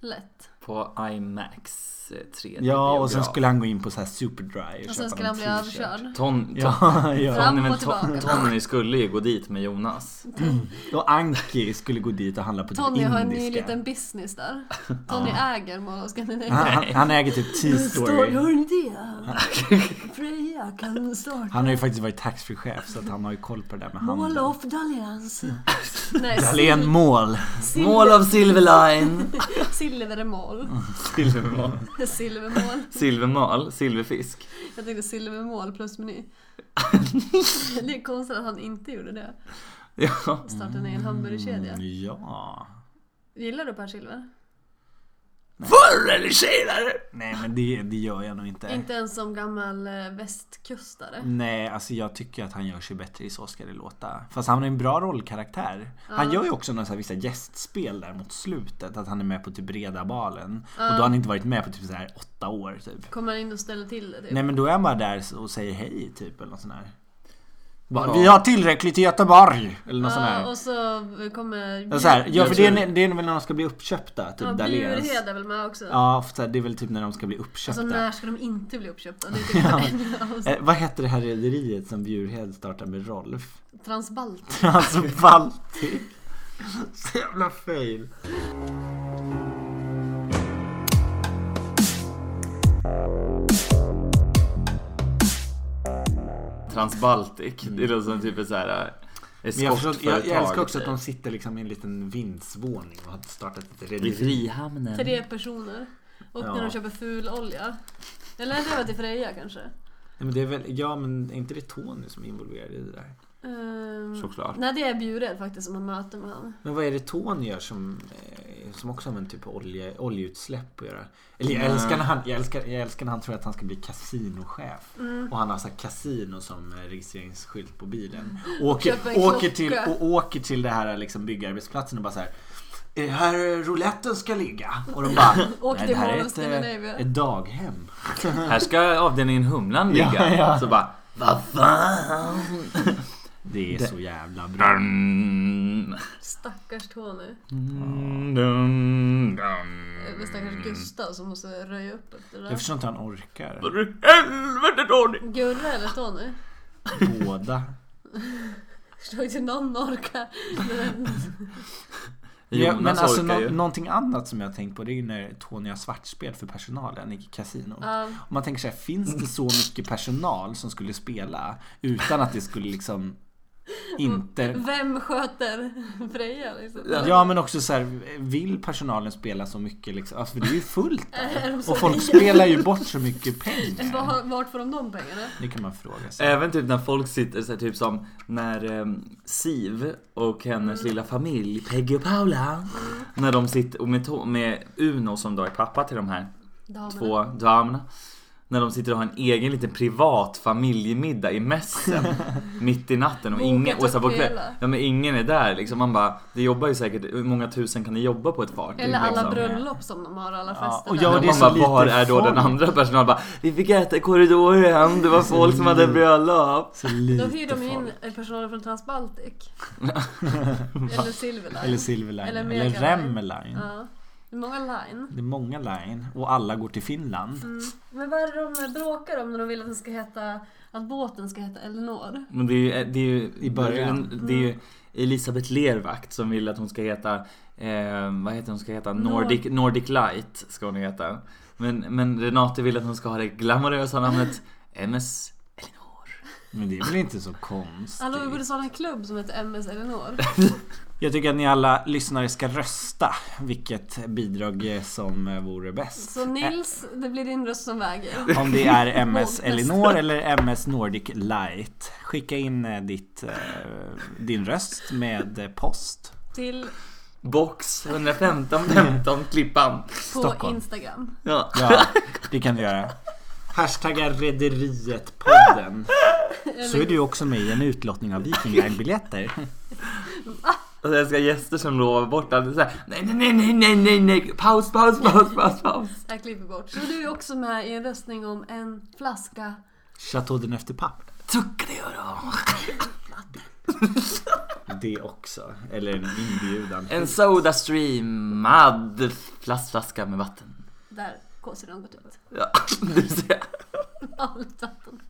lätt. På IMAX eh, 3D Ja, och sen biograf. skulle han gå in på så här Superdry och, Och sen köpa skulle någon han bli t-shirt. överkörd. Ton, ton, Ja, ja. Fram Tony, men och ton, tillbaka. Tony skulle ju gå dit med Jonas. Och Anki skulle gå dit och handla på typ Tony indiska. har en ny liten business där. Tony äger Mall of han, Scandinavia. han, han äger typ Står, T-story. har du det? Freja kan starta Ah. Han har ju faktiskt varit taxfree-chef så att han har ju koll på det där med Mall handeln. of Dallians. Nej, Dahlén mål. sil- Mål av Silverline! silvermål. Mm. Silvermål. Silvermål. Silvermal, silverfisk. Jag tänkte silvermål plus meny. Det är konstigt att han inte gjorde det. Ja. Startade en egen hamburgerkedja. Mm, ja. Gillar du Per Silver? Förr eller senare! Nej men det, det gör jag nog inte. Inte ens som gammal eh, västkustare. Nej, alltså jag tycker att han gör sig bättre i Så ska det låta. Fast han är en bra rollkaraktär. Han gör ju också några så här vissa gästspel där mot slutet. Att han är med på typ Redabalen. Och då har han inte varit med på typ så här åtta år typ. Kommer han in och ställer till det typ? Nej men då är han bara där och säger hej typ eller något sånt där. Bara, Ja. Vi har tillräckligt i Göteborg! Eller något sånt Ja, där. och så kommer... Ja, så här, ja Jag för alltså, det är, tror- en- det är väl när de ska bli uppköpta, typ ja, Dahléns. Bjurhed är väl med också? Ja, för så här, det är väl typ när de ska bli uppköpta. alltså när ska de inte bli uppköpta? Det är typ en av oss. eh, vad heter det här rederiet som Bjurhed startar med Rolf? Transbalt. Alltså Baltic. Så jävla fail. Transbaltic. Det låter som typ ett såhär Men jag, förstår, jag, eskortföretag. jag älskar också att typ. de sitter liksom i en liten vindsvåning och har startat ett I rederi. Frihamnen. Tre personer. Och när Mm. Ja. de köper fulolja. Eller det var till Freja kanske. Nej, men det är väl, ja men är inte det Tony som är involverad i det där? Ehm, Såklart. nej det är Bjured faktiskt som har möte med han. Men vad är det Tony gör som, eh, som också har en typ av olje, oljeutsläpp att göra? Eller jag älskar, när han, jag, älskar, jag älskar när han tror att han ska bli kasinochef. Och han har så här kasino som eh, registreringsskylt på bilen. Åker, Köper Mm. en åker, klocka. till, och åker till det här liksom, byggarbetsplatsen och bara så här. "Är det här rouletten ska ligga. Och de bara. Åk "Nej, till det här Mall är of ett, Scandinavia." eh, ett daghem. Här ska avdelningen Humlan Ja, ligga. ja. Så bara, vad fan? Det är så jävla bra. Mm. Dum, Stackars Tony. Eh, dum, dum. Eller stackars Gustav som måste röja upp efter det Mm. Jag där. förstår inte hur han orkar. Vad i Helvete Tony! Gurra eller Tony? Båda. Förstår inte hur någon orkar. Men Ja, Jonas men alltså orkar nå- ju. någonting annat som jag har tänkt på det är ju när Tony har svartspel för personalen i kasinot. Ja. Och Man tänker så här, finns det så mycket personal som skulle spela utan att det skulle liksom inte... Vem sköter Freja liksom? Ja men också så här, vill personalen spela så mycket liksom? Alltså för det är ju fullt Är de där. så Och folk rika? spelar ju bort så mycket pengar. Var, vart får de de pengarna? Det kan man fråga Eh, sig. Även typ när folk sitter så här, typ som när ehm, Siv och hennes lilla familj Peggy och Paula När de sitter och med, to- med Uno som då är pappa till de här Damerna. två damerna När de sitter och har en egen liten privat familjemiddag i mässen Mitt i natten och Bokat ingen, och så här på upp kväll, hela. ja, men ingen är där liksom Man bara, det jobbar ju säkert, hur många tusen kan det jobba på ett fartyg? Eller alla liksom? bröllop som de har, alla Ja, fester och där. jag- Ja, Ja, det är man så bara, lite var är då den folk." andra personalen? Bara, vi fick äta i korridoren, det var folk som Mm. hade bröllop. Så Då lite hyr de in folk. personal från Transbaltic. eller Silverline. Eller Silverline. Eller Eller, Mega Line. Remmeline. Ja. Det är många line. Det är många line och alla går till Finland. Mm. Men vad är det de bråkar om när de vill att den ska heta att båten ska heta Elinor? Men det är ju, eh, det är ju, I början. Det är ju Elisabeth Lervakt som vill att hon ska heta, eh, vad heter hon ska heta? Nordic, Nordic Light ska hon heta. Men, men Renate vill att hon ska ha det glamorösa namnet MS Elinor. Men det är väl inte så konstigt? Hallå, vi borde starta en klubb som heter MS Elinor. Jag tycker att ni alla lyssnare ska rösta vilket bidrag som vore bäst. Eh, Så Nils, det blir din röst som väger. Om det är MS Våldtäkt. Elinor eller MS Nordic Light. Skicka in eh, ditt, eh, din röst med eh, post. Till Box 115 15 Klippan. på Stockholm. Instagram. Ja. Ja, det kan du göra. Hashtagga Rederietpodden. Så är du också med i en utlottning av Vikingar-biljetter. Och sen ska gäster som lovar bort allt såhär, nej nej nej nej nej nej nej, paus paus paus paus paus. Det här klipper vi bort. Så du är också med i en röstning om en flaska Chateau den efter papp. Tucka det gör Det också. Eller en inbjudan. En soda streamad plastflaska med vatten. Där kåsorna har gått ut. Ja, du ser. Allt vatten.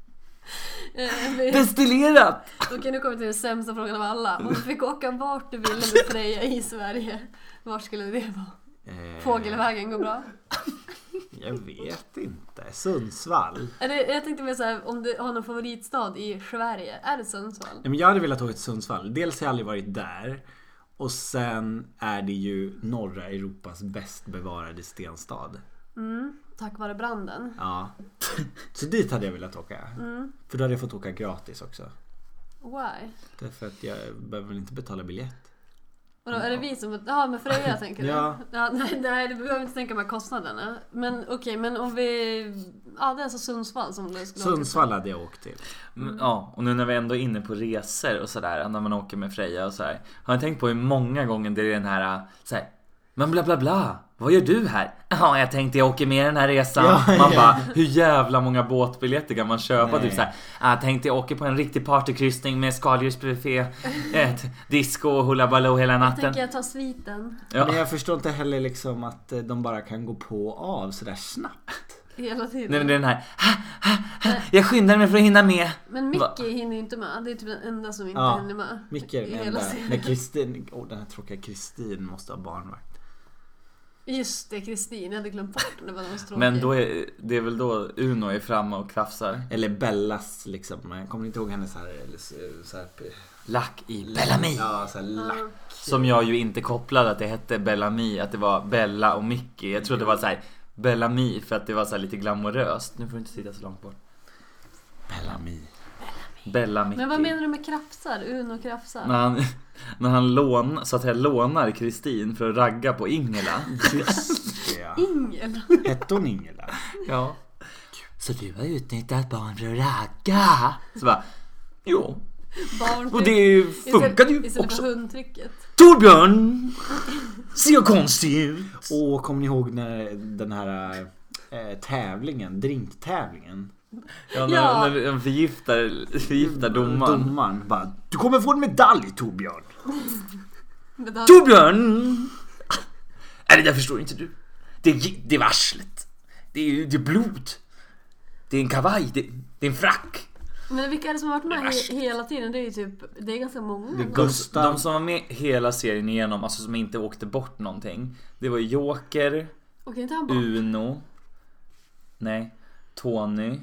Eh, vi- Destillerat! Okej nu kommer vi till den sämsta frågan av alla. Om du fick åka vart du ville med Freja i Sverige, var skulle det vara? Eh, Fågelvägen går bra. Jag vet inte. Sundsvall. Är det, jag tänkte mer såhär, om du har någon favoritstad i Sverige, är det Sundsvall? Nej, men jag hade velat åka till Sundsvall. Dels har jag aldrig varit där. Och sen är det ju norra Europas bäst bevarade stenstad. Mm, tack vare branden. Ja. Så dit hade jag velat åka. Mm. För då hade jag fått åka gratis också. Why? Därför att jag behöver väl inte betala biljett. Och då, är det vi som... Ja, men Freja tänker du? Ja. ja nej, nej, du behöver inte tänka med kostnaderna. Men okej, men om vi... Ja, det är alltså Sundsvall som du skulle typ- åka till. Sundsvall hade jag åkt till. Mm, Ja, och nu när vi ändå är inne på resor och sådär, när man åker med Freja och sådär. Har ni tänkt på hur många gånger det är den här, äh, såhär, men bla bla bla, vad gör du här? Ja, jag tänkte jag åker med den här resan. Ja, man ja. bara, hur jävla många båtbiljetter kan man köpa? Nej. Typ såhär, "Ah, jag tänkte jag åker på en riktig partykryssning med skaldjursbuffé, ett disco och hula baloo hela Jag natten. tänker jag ta sviten Ja. Men jag förstår inte heller liksom att eh, de bara kan gå på och av sådär snabbt. hela tiden. Nej men det är den här, jag skyndar mig för att hinna med. Men Va? Mickey hinner ju inte med. Det är typ den enda som inte Ja, hinner med. Micke är I den hela enda. serien. När Kristin, åh den här tråkiga Kristin måste ha barnvakt. Just det, Kristin. Jag hade glömt bort det. var någon stråkig. Men då är det är väl då Uno är framme och krafsar. Eller Bellas liksom, eh, kommer ni inte ihåg hennes här, eller så så här eh, Lack i Bellamy. Ah. Ja, såhär lack. Som jag ju inte kopplade att det hette Bellamy, att det var Bella och Mickey. Jag trodde det var så här Bellamy för att det var så här lite glamoröst. Nu får du inte sitta så långt bort. Bellamy. Bella Mickey. Men vad menar du med krafsar? Uno krafsar? När han, när han lån, så att jag lånar Kristin för att ragga på Ingela. Just det ja. Ingel? Hette hon Ingela? Ja. Så du har utnyttjat barn för att ragga? Så bara, jo. Barn Och det funkade ju Istället för också. hundtrycket. Torbjörn! Ser jag konstig ut? Och kommer ni ihåg när den här eh, tävlingen, drinktävlingen? Ja, när, Ja. när han förgiftar, förgiftar domaren. Domaren bara Du kommer få en medalj Torbjörn! Men det har- Torbjörn! Är det där förstår inte du. Det är, gi- det är varslet. Det är, det är blod. Det är en kavaj. Det, det är en frack. Men vilka är det som har varit med he- hela tiden? Det är ju typ... Det är ganska många. Det är De, Gustav. de som var med hela serien igenom, alltså som inte åkte bort någonting. Det var Joker, Okej, inte han bara... Uno. Nej. Tony,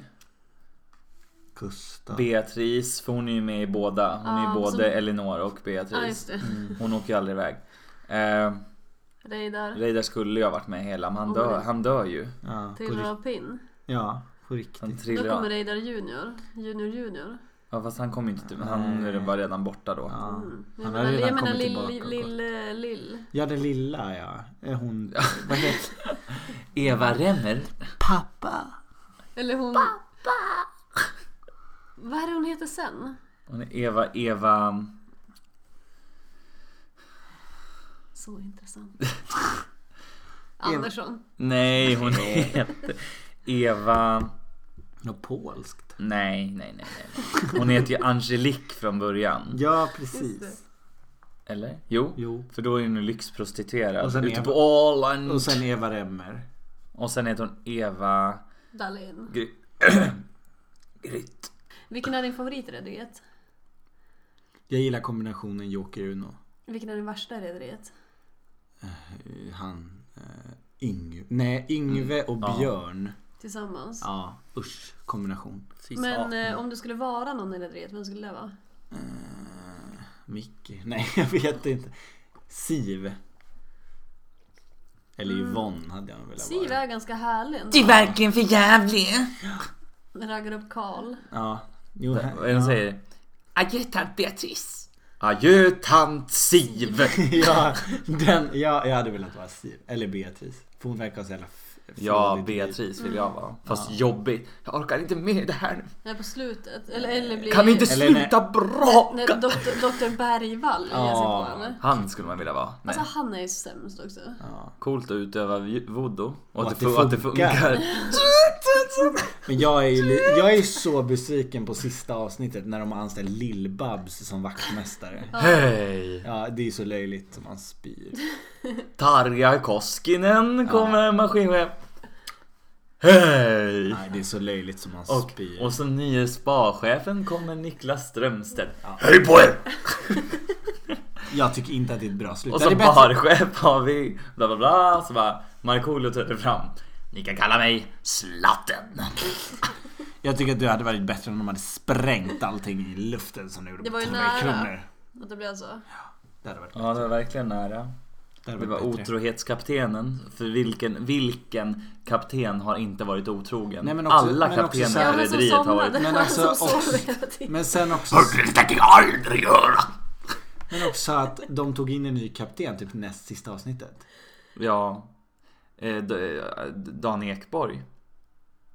Gustav. Beatrice, för hon är ju med i båda. Hon är Ah, ju både som- Elinor och Ja, Beatrice. Mm. just det. Hon åker ju aldrig iväg. Eh, Reidar. Reidar skulle ju ha varit med hela, men han Åh, dör, nej. han dör ju. Ja, på Trillar rikt- av pinn. ja, på Han riktigt. Då trillar kommer Reidar Junior. Junior Junior. Ja fast han kom ju inte till, han Nej. var redan borta då. Ja. Mm. Jag Han menar, har redan jag menar kommit lill, tillbaka lill, och lill, lill. Ja, den lilla ja. Eh, Hon... Vad heter Eva Remmer. Pappa. Eller hon... Pappa! Vad är det hon heter sen? Hon är Eva, Eva... Så intressant. Andersson. Nej hon heter Eva... Något polskt. Nej, nej, nej, nej. Hon heter ju Angelique från början. Ja, Just precis. Eller? Jo. Jo. För då är hon ju lyxprostituerad. Och sen ute Eva- på Åland. Och sen Eva Remmer. Och sen heter hon Eva... Dahlén. Gry... Grytt. Vilken är din favorit i rederiet? Jag gillar kombinationen Joker-Uno. Vilken är din värsta i rederiet? Eh, Han... Eh, Ing... Nej, Ingve och Ja. Björn. Tillsammans. Ja, usch. Kombination. Fy Men satan. eh, om du skulle vara någon i rederiet, vem skulle det vara? Eh, Micke. Nej, jag vet inte. Siv. Eller Yvonne hade jag nog velat Mm. Siv vara. är ganska härlig ändå. Du är verkligen för jävlig. Raggar upp Karl. Ja. Jo, här- Och en säger... Adjö tant Beatrice. Adjö tant Siv! ja, den, ja, jag hade velat vara Siv. Eller Beatrice. För hon verkar ha så jävla f- Ja, frådigt liv. Beatrice vill jag vara. Fast Ja. jobbigt. Jag orkar inte med det här nu. Nej, på slutet. Eller, eller blir... Kan ni inte Eller nej. sluta bra? När doktor, doktor Bergvall ger sig på Ja. henne. Han skulle man vilja vara. Nej. Alltså han är ju sämst också. Ja. Coolt att utöva ju- voodoo. Och, Och att, att det, det fu- att det funkar. Men jag är ju li- jag är ju så besviken på sista avsnittet när de har anställt Lill-Babs som vaktmästare. Hej! Ja, det är ju så löjligt som man spyr. Tarja Koskinen kommer maskinchef. Hej! Nej, det är så löjligt som man Och, spyr. och som nye spachefen kommer Niklas Strömstedt. Ja. Hej på er! Jag tycker inte att det är ett bra slut. Och Det är som bättre- barchef har vi bla bla bla. Så bara Markoolio trädde fram. Ni kan kalla mig Slatten. Jag tycker att det hade varit bättre om de hade sprängt allting i luften som de gjorde Det på var ju Tornberg nära. Kronor. Att det blir så. Det hade varit, Ja, det var verkligen nära. det hade Det var varit bättre. otrohetskaptenen. För vilken, vilken kapten har inte varit otrogen? Nej, men också- Alla men också så kaptener här- i men som rederiet har varit... somnade. Men Men alltså, alltså, som och- sov hela tiden. Men sen också, Det tänker jag aldrig göra! men också att de tog in en ny kapten typ näst sista avsnittet. Ja. Eh, d- eh, Dan Ekborg.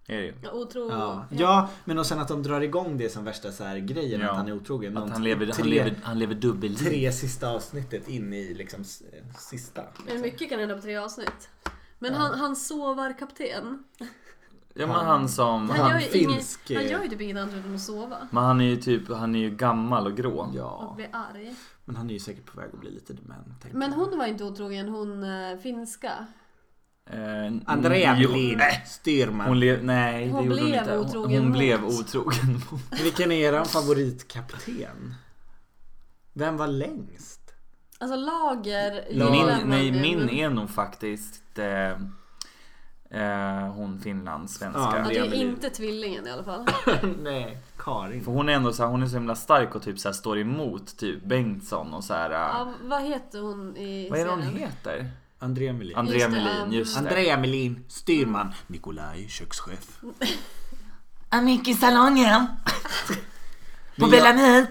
Är det ju. Ja, Otro... Ja. ja, men och sen att de drar igång det som värsta så här grejen Ja. att han är otrogen. Att De han lever, tre, han lever, han lever dubbelliv. tre sista avsnittet in i liksom s- sista. Men mycket kan hända på tre avsnitt. Men han, han sovar kapten. Ja men han som... Han, Han, gör, ju inget, finsk, han eh, gör ju typ inget annat än att sova. men han är ju typ, han är ju gammal och grå. Och Ja, blir arg. men han är ju säkert på väg att bli lite dement. tänker Men jag. hon var inte otrogen, hon eh, finska. Eh, Andrea jo, Melin, nej. styrman. Hon lev, nej, Hon det gjorde hon blev inte. Hon, otrogen hon mot- blev otrogen mot... Vilken är eran favoritkapten? Vem var längst? Alltså lager gillar Min, man nej, ju, min men- är nog faktiskt eh, eh, hon Ja, finlandssvenska. Ja, det är Lever i- inte tvillingen i alla fall. Nej, Karin. För hon är ändå så här, hon är så himla stark och typ så här står emot typ Bengtsson och så här. eh, Ja, vad heter hon i vad är det hon serien? heter? Andrea Melin. Andrea Just det, Melin, um, just det. Andrea Melin, styrman. Nikolaj, kökschef. Jag gick i salongen. På Men Bella jag, Mil.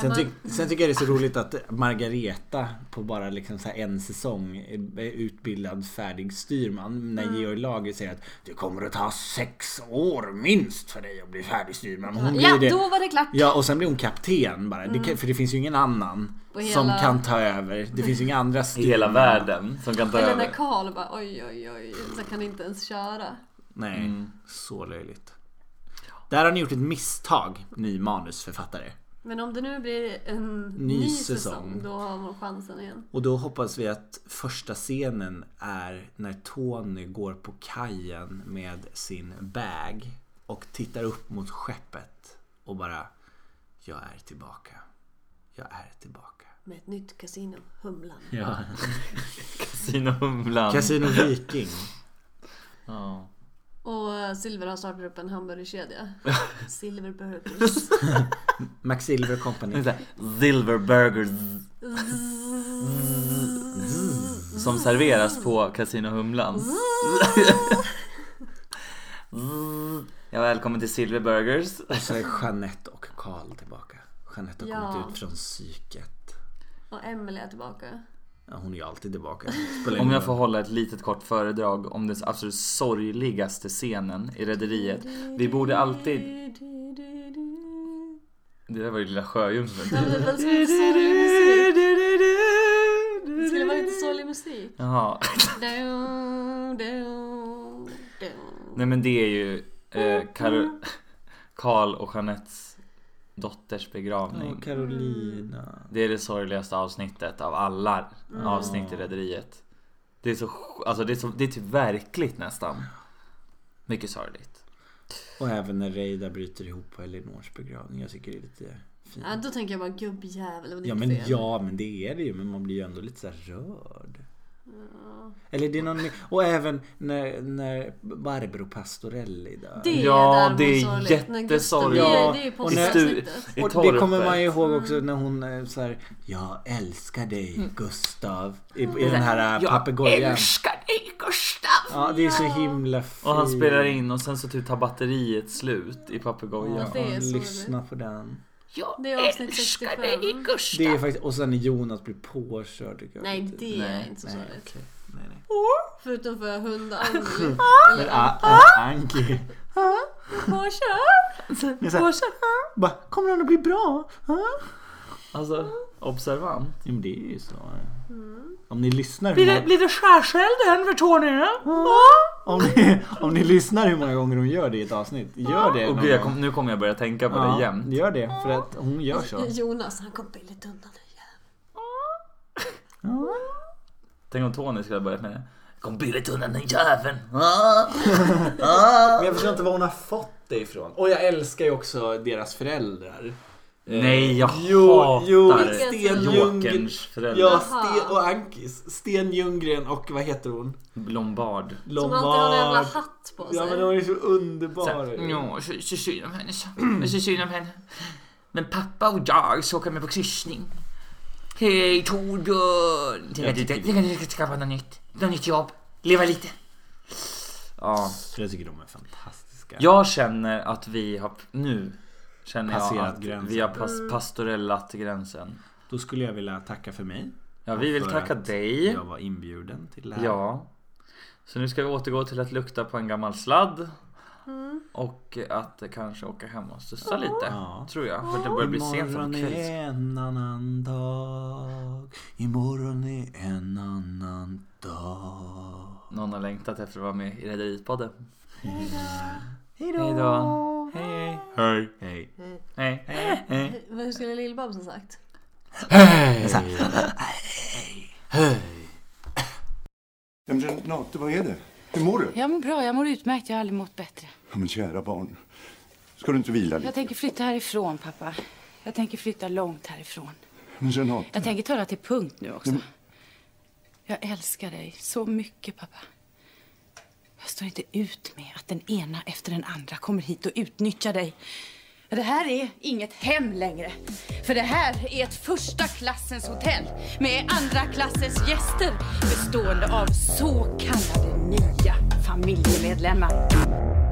sen, ty- sen tycker jag det är så roligt att Margareta på bara liksom så här en säsong är utbildad färdig styrman. När Mm. Georg Lager säger att det kommer att ta sex år minst för dig att bli färdig styrman. Hon Ja, blir det. då var det klart. Ja och sen blir hon kapten bara. Det kan, för det finns ju ingen annan På som hela- kan ta över. Det finns ju inga andra I hela världen som kan ta Eller när över. Karl bara oj oj oj, så kan inte ens köra. Nej, Mm. så löjligt. Där har ni gjort ett misstag, ny manusförfattare. Men om det nu blir en Ny ny, säsong, säsong. då har man chansen igen. Och då hoppas vi att första scenen är när Tony går på kajen med sin bag och tittar upp mot skeppet och bara Jag är tillbaka. Jag är tillbaka. Med ett nytt kasino, Humlan. Ja. Casino Humlan. Casino Viking. Ja. Och eh, Silver har startat upp en hamburgerkedja. Silver Burgers. Max Silver Company. Så här, Silver Burgers. Som serveras på Casino Humlan. Ja, välkommen till Silver Burgers. Och så är Jeanette och Karl tillbaka. Jeanette har Ja. kommit ut från psyket. Och Emelie är tillbaka. Ja, hon är ju alltid tillbaka. Spelar Om ingen jag roll. får hålla ett litet kort föredrag om den absolut sorgligaste scenen i Rederiet. Vi borde alltid... Det där var ju Lilla Ja, men Sjöjungfrun. det var så mycket sorglig musik. Det skulle vara lite sorglig musik. Jaha. Du, du, du. Nej men det är ju eh, Kar- Karl och Jeanettes dotters Ja, begravning. Carolina. Det är det sorgligaste avsnittet av alla Mm. avsnitt i Rederiet. Det är så, sj- alltså det är, så, det är typ verkligt nästan. Mycket sorgligt. Och även när Reidar bryter ihop på Elinors begravning. Jag tycker det är lite fint. Ja, då tänker jag bara gubbjävel, vad Ja ditt men, fel. ja men det är det ju. Men man blir ju ändå lite så här rörd. Eller det är någon... Och även när, när Barbro Pastorelli dör. Det är Ja, däremot det är sorgligt. Men Gustav, jättesorgligt. Det är, det är ju Ja, och när- postavsnittet. I och det torpet. kommer man ju ihåg också när hon eh, så här, Jag älskar dig Gustav. I, i den här eh, papegojan. Älskar dig Gustav. Ja det är så himla fint. Och han spelar in och sen så typ tar batteriet slut i papegojan. Ja, Det är så lyssna på den. Jag Det är avsnitt älskar 65. dig Det är Gustav. faktiskt, och sen när Jonas blir påkörd. tycker jag Nej, inte. det är Nej, inte så nej, sorgligt. okej. nej, nej. Förutom för hund Angie. Men, Eller ah, ah, Anki. Angie. Men så här, Bara, kommer han att bli bra? Ah? Alltså, observant. Jo men det är ju så. Mm. Om ni lyssnar hur Blir det, många, blir det skärseld än för Tony? Ja. Ah! om ni, om ni lyssnar hur många gånger hon gör det i ett avsnitt. Ah! Gör det Och någon gud, jag gång. kom, nu kommer jag börja tänka på det jämt. Gör det, för att hon gör så. Jonas, han kom billigt undan nu igen. Tänk om Tony skulle ha börjat med det. Kom billigt undan den jäveln. Ah! Men jag förstår inte var hon har fått det ifrån. Och jag älskar ju också deras föräldrar. Eh, Nej, jag Jo, hatar jo, Vilken Sten Ljunggren. Jokerns föräldrar. Ja, Jaha. Sten och Ankis. Sten Ljunggren och vad heter hon? Lombard. Som alltid har en jävla Lombard. hatt på sig. Ja men hon är så underbar. Jag så synd om henne. så. Jag så synd om henne. Men pappa och jag så åker med på kryssning. Hej Torbjörn! Tänk att du- tänk att du ska skaffa något nytt. Något nytt jobb. Leva lite. Ja. Jag tycker de är fantastiska. Jag känner att vi har, nu känner jag Passerat att gränsen. vi har Mm. pas- pastorellat gränsen. Då skulle jag vilja tacka för mig. Ja, vi vill För tacka att dig. Jag var inbjuden till det här. Ja. Så nu ska vi återgå till att lukta på en gammal sladd. Och att kanske åka hem och sussa lite. Mm. Ja. Tror jag. För det börjar bli sent på Imorgon kvällen. är en annan dag. Imorgon är en annan dag. Någon har längtat efter att vara med i Rederipodden. Hejdå. Hej då. Hej. Hej. Hej. Hej. Hej. Hej. Men hur skulle Lill-Babs ha sagt? Ja, men Renate, vad är det? Hur mår du? Jag mår bra, jag mår utmärkt. Jag har aldrig mått bättre. Ja, men kära barn, ska du inte vila Jag lite? tänker flytta härifrån, pappa. Jag tänker flytta långt härifrån. Men Renate, Jag tänker ta det till punkt nu också. Jag älskar dig så mycket, pappa. Jag står inte ut med att den ena efter den andra kommer hit och utnyttjar dig. Det här är inget hem längre. För det här är ett första klassens hotell med andra klassens gäster bestående av så kallade nya familjemedlemmar.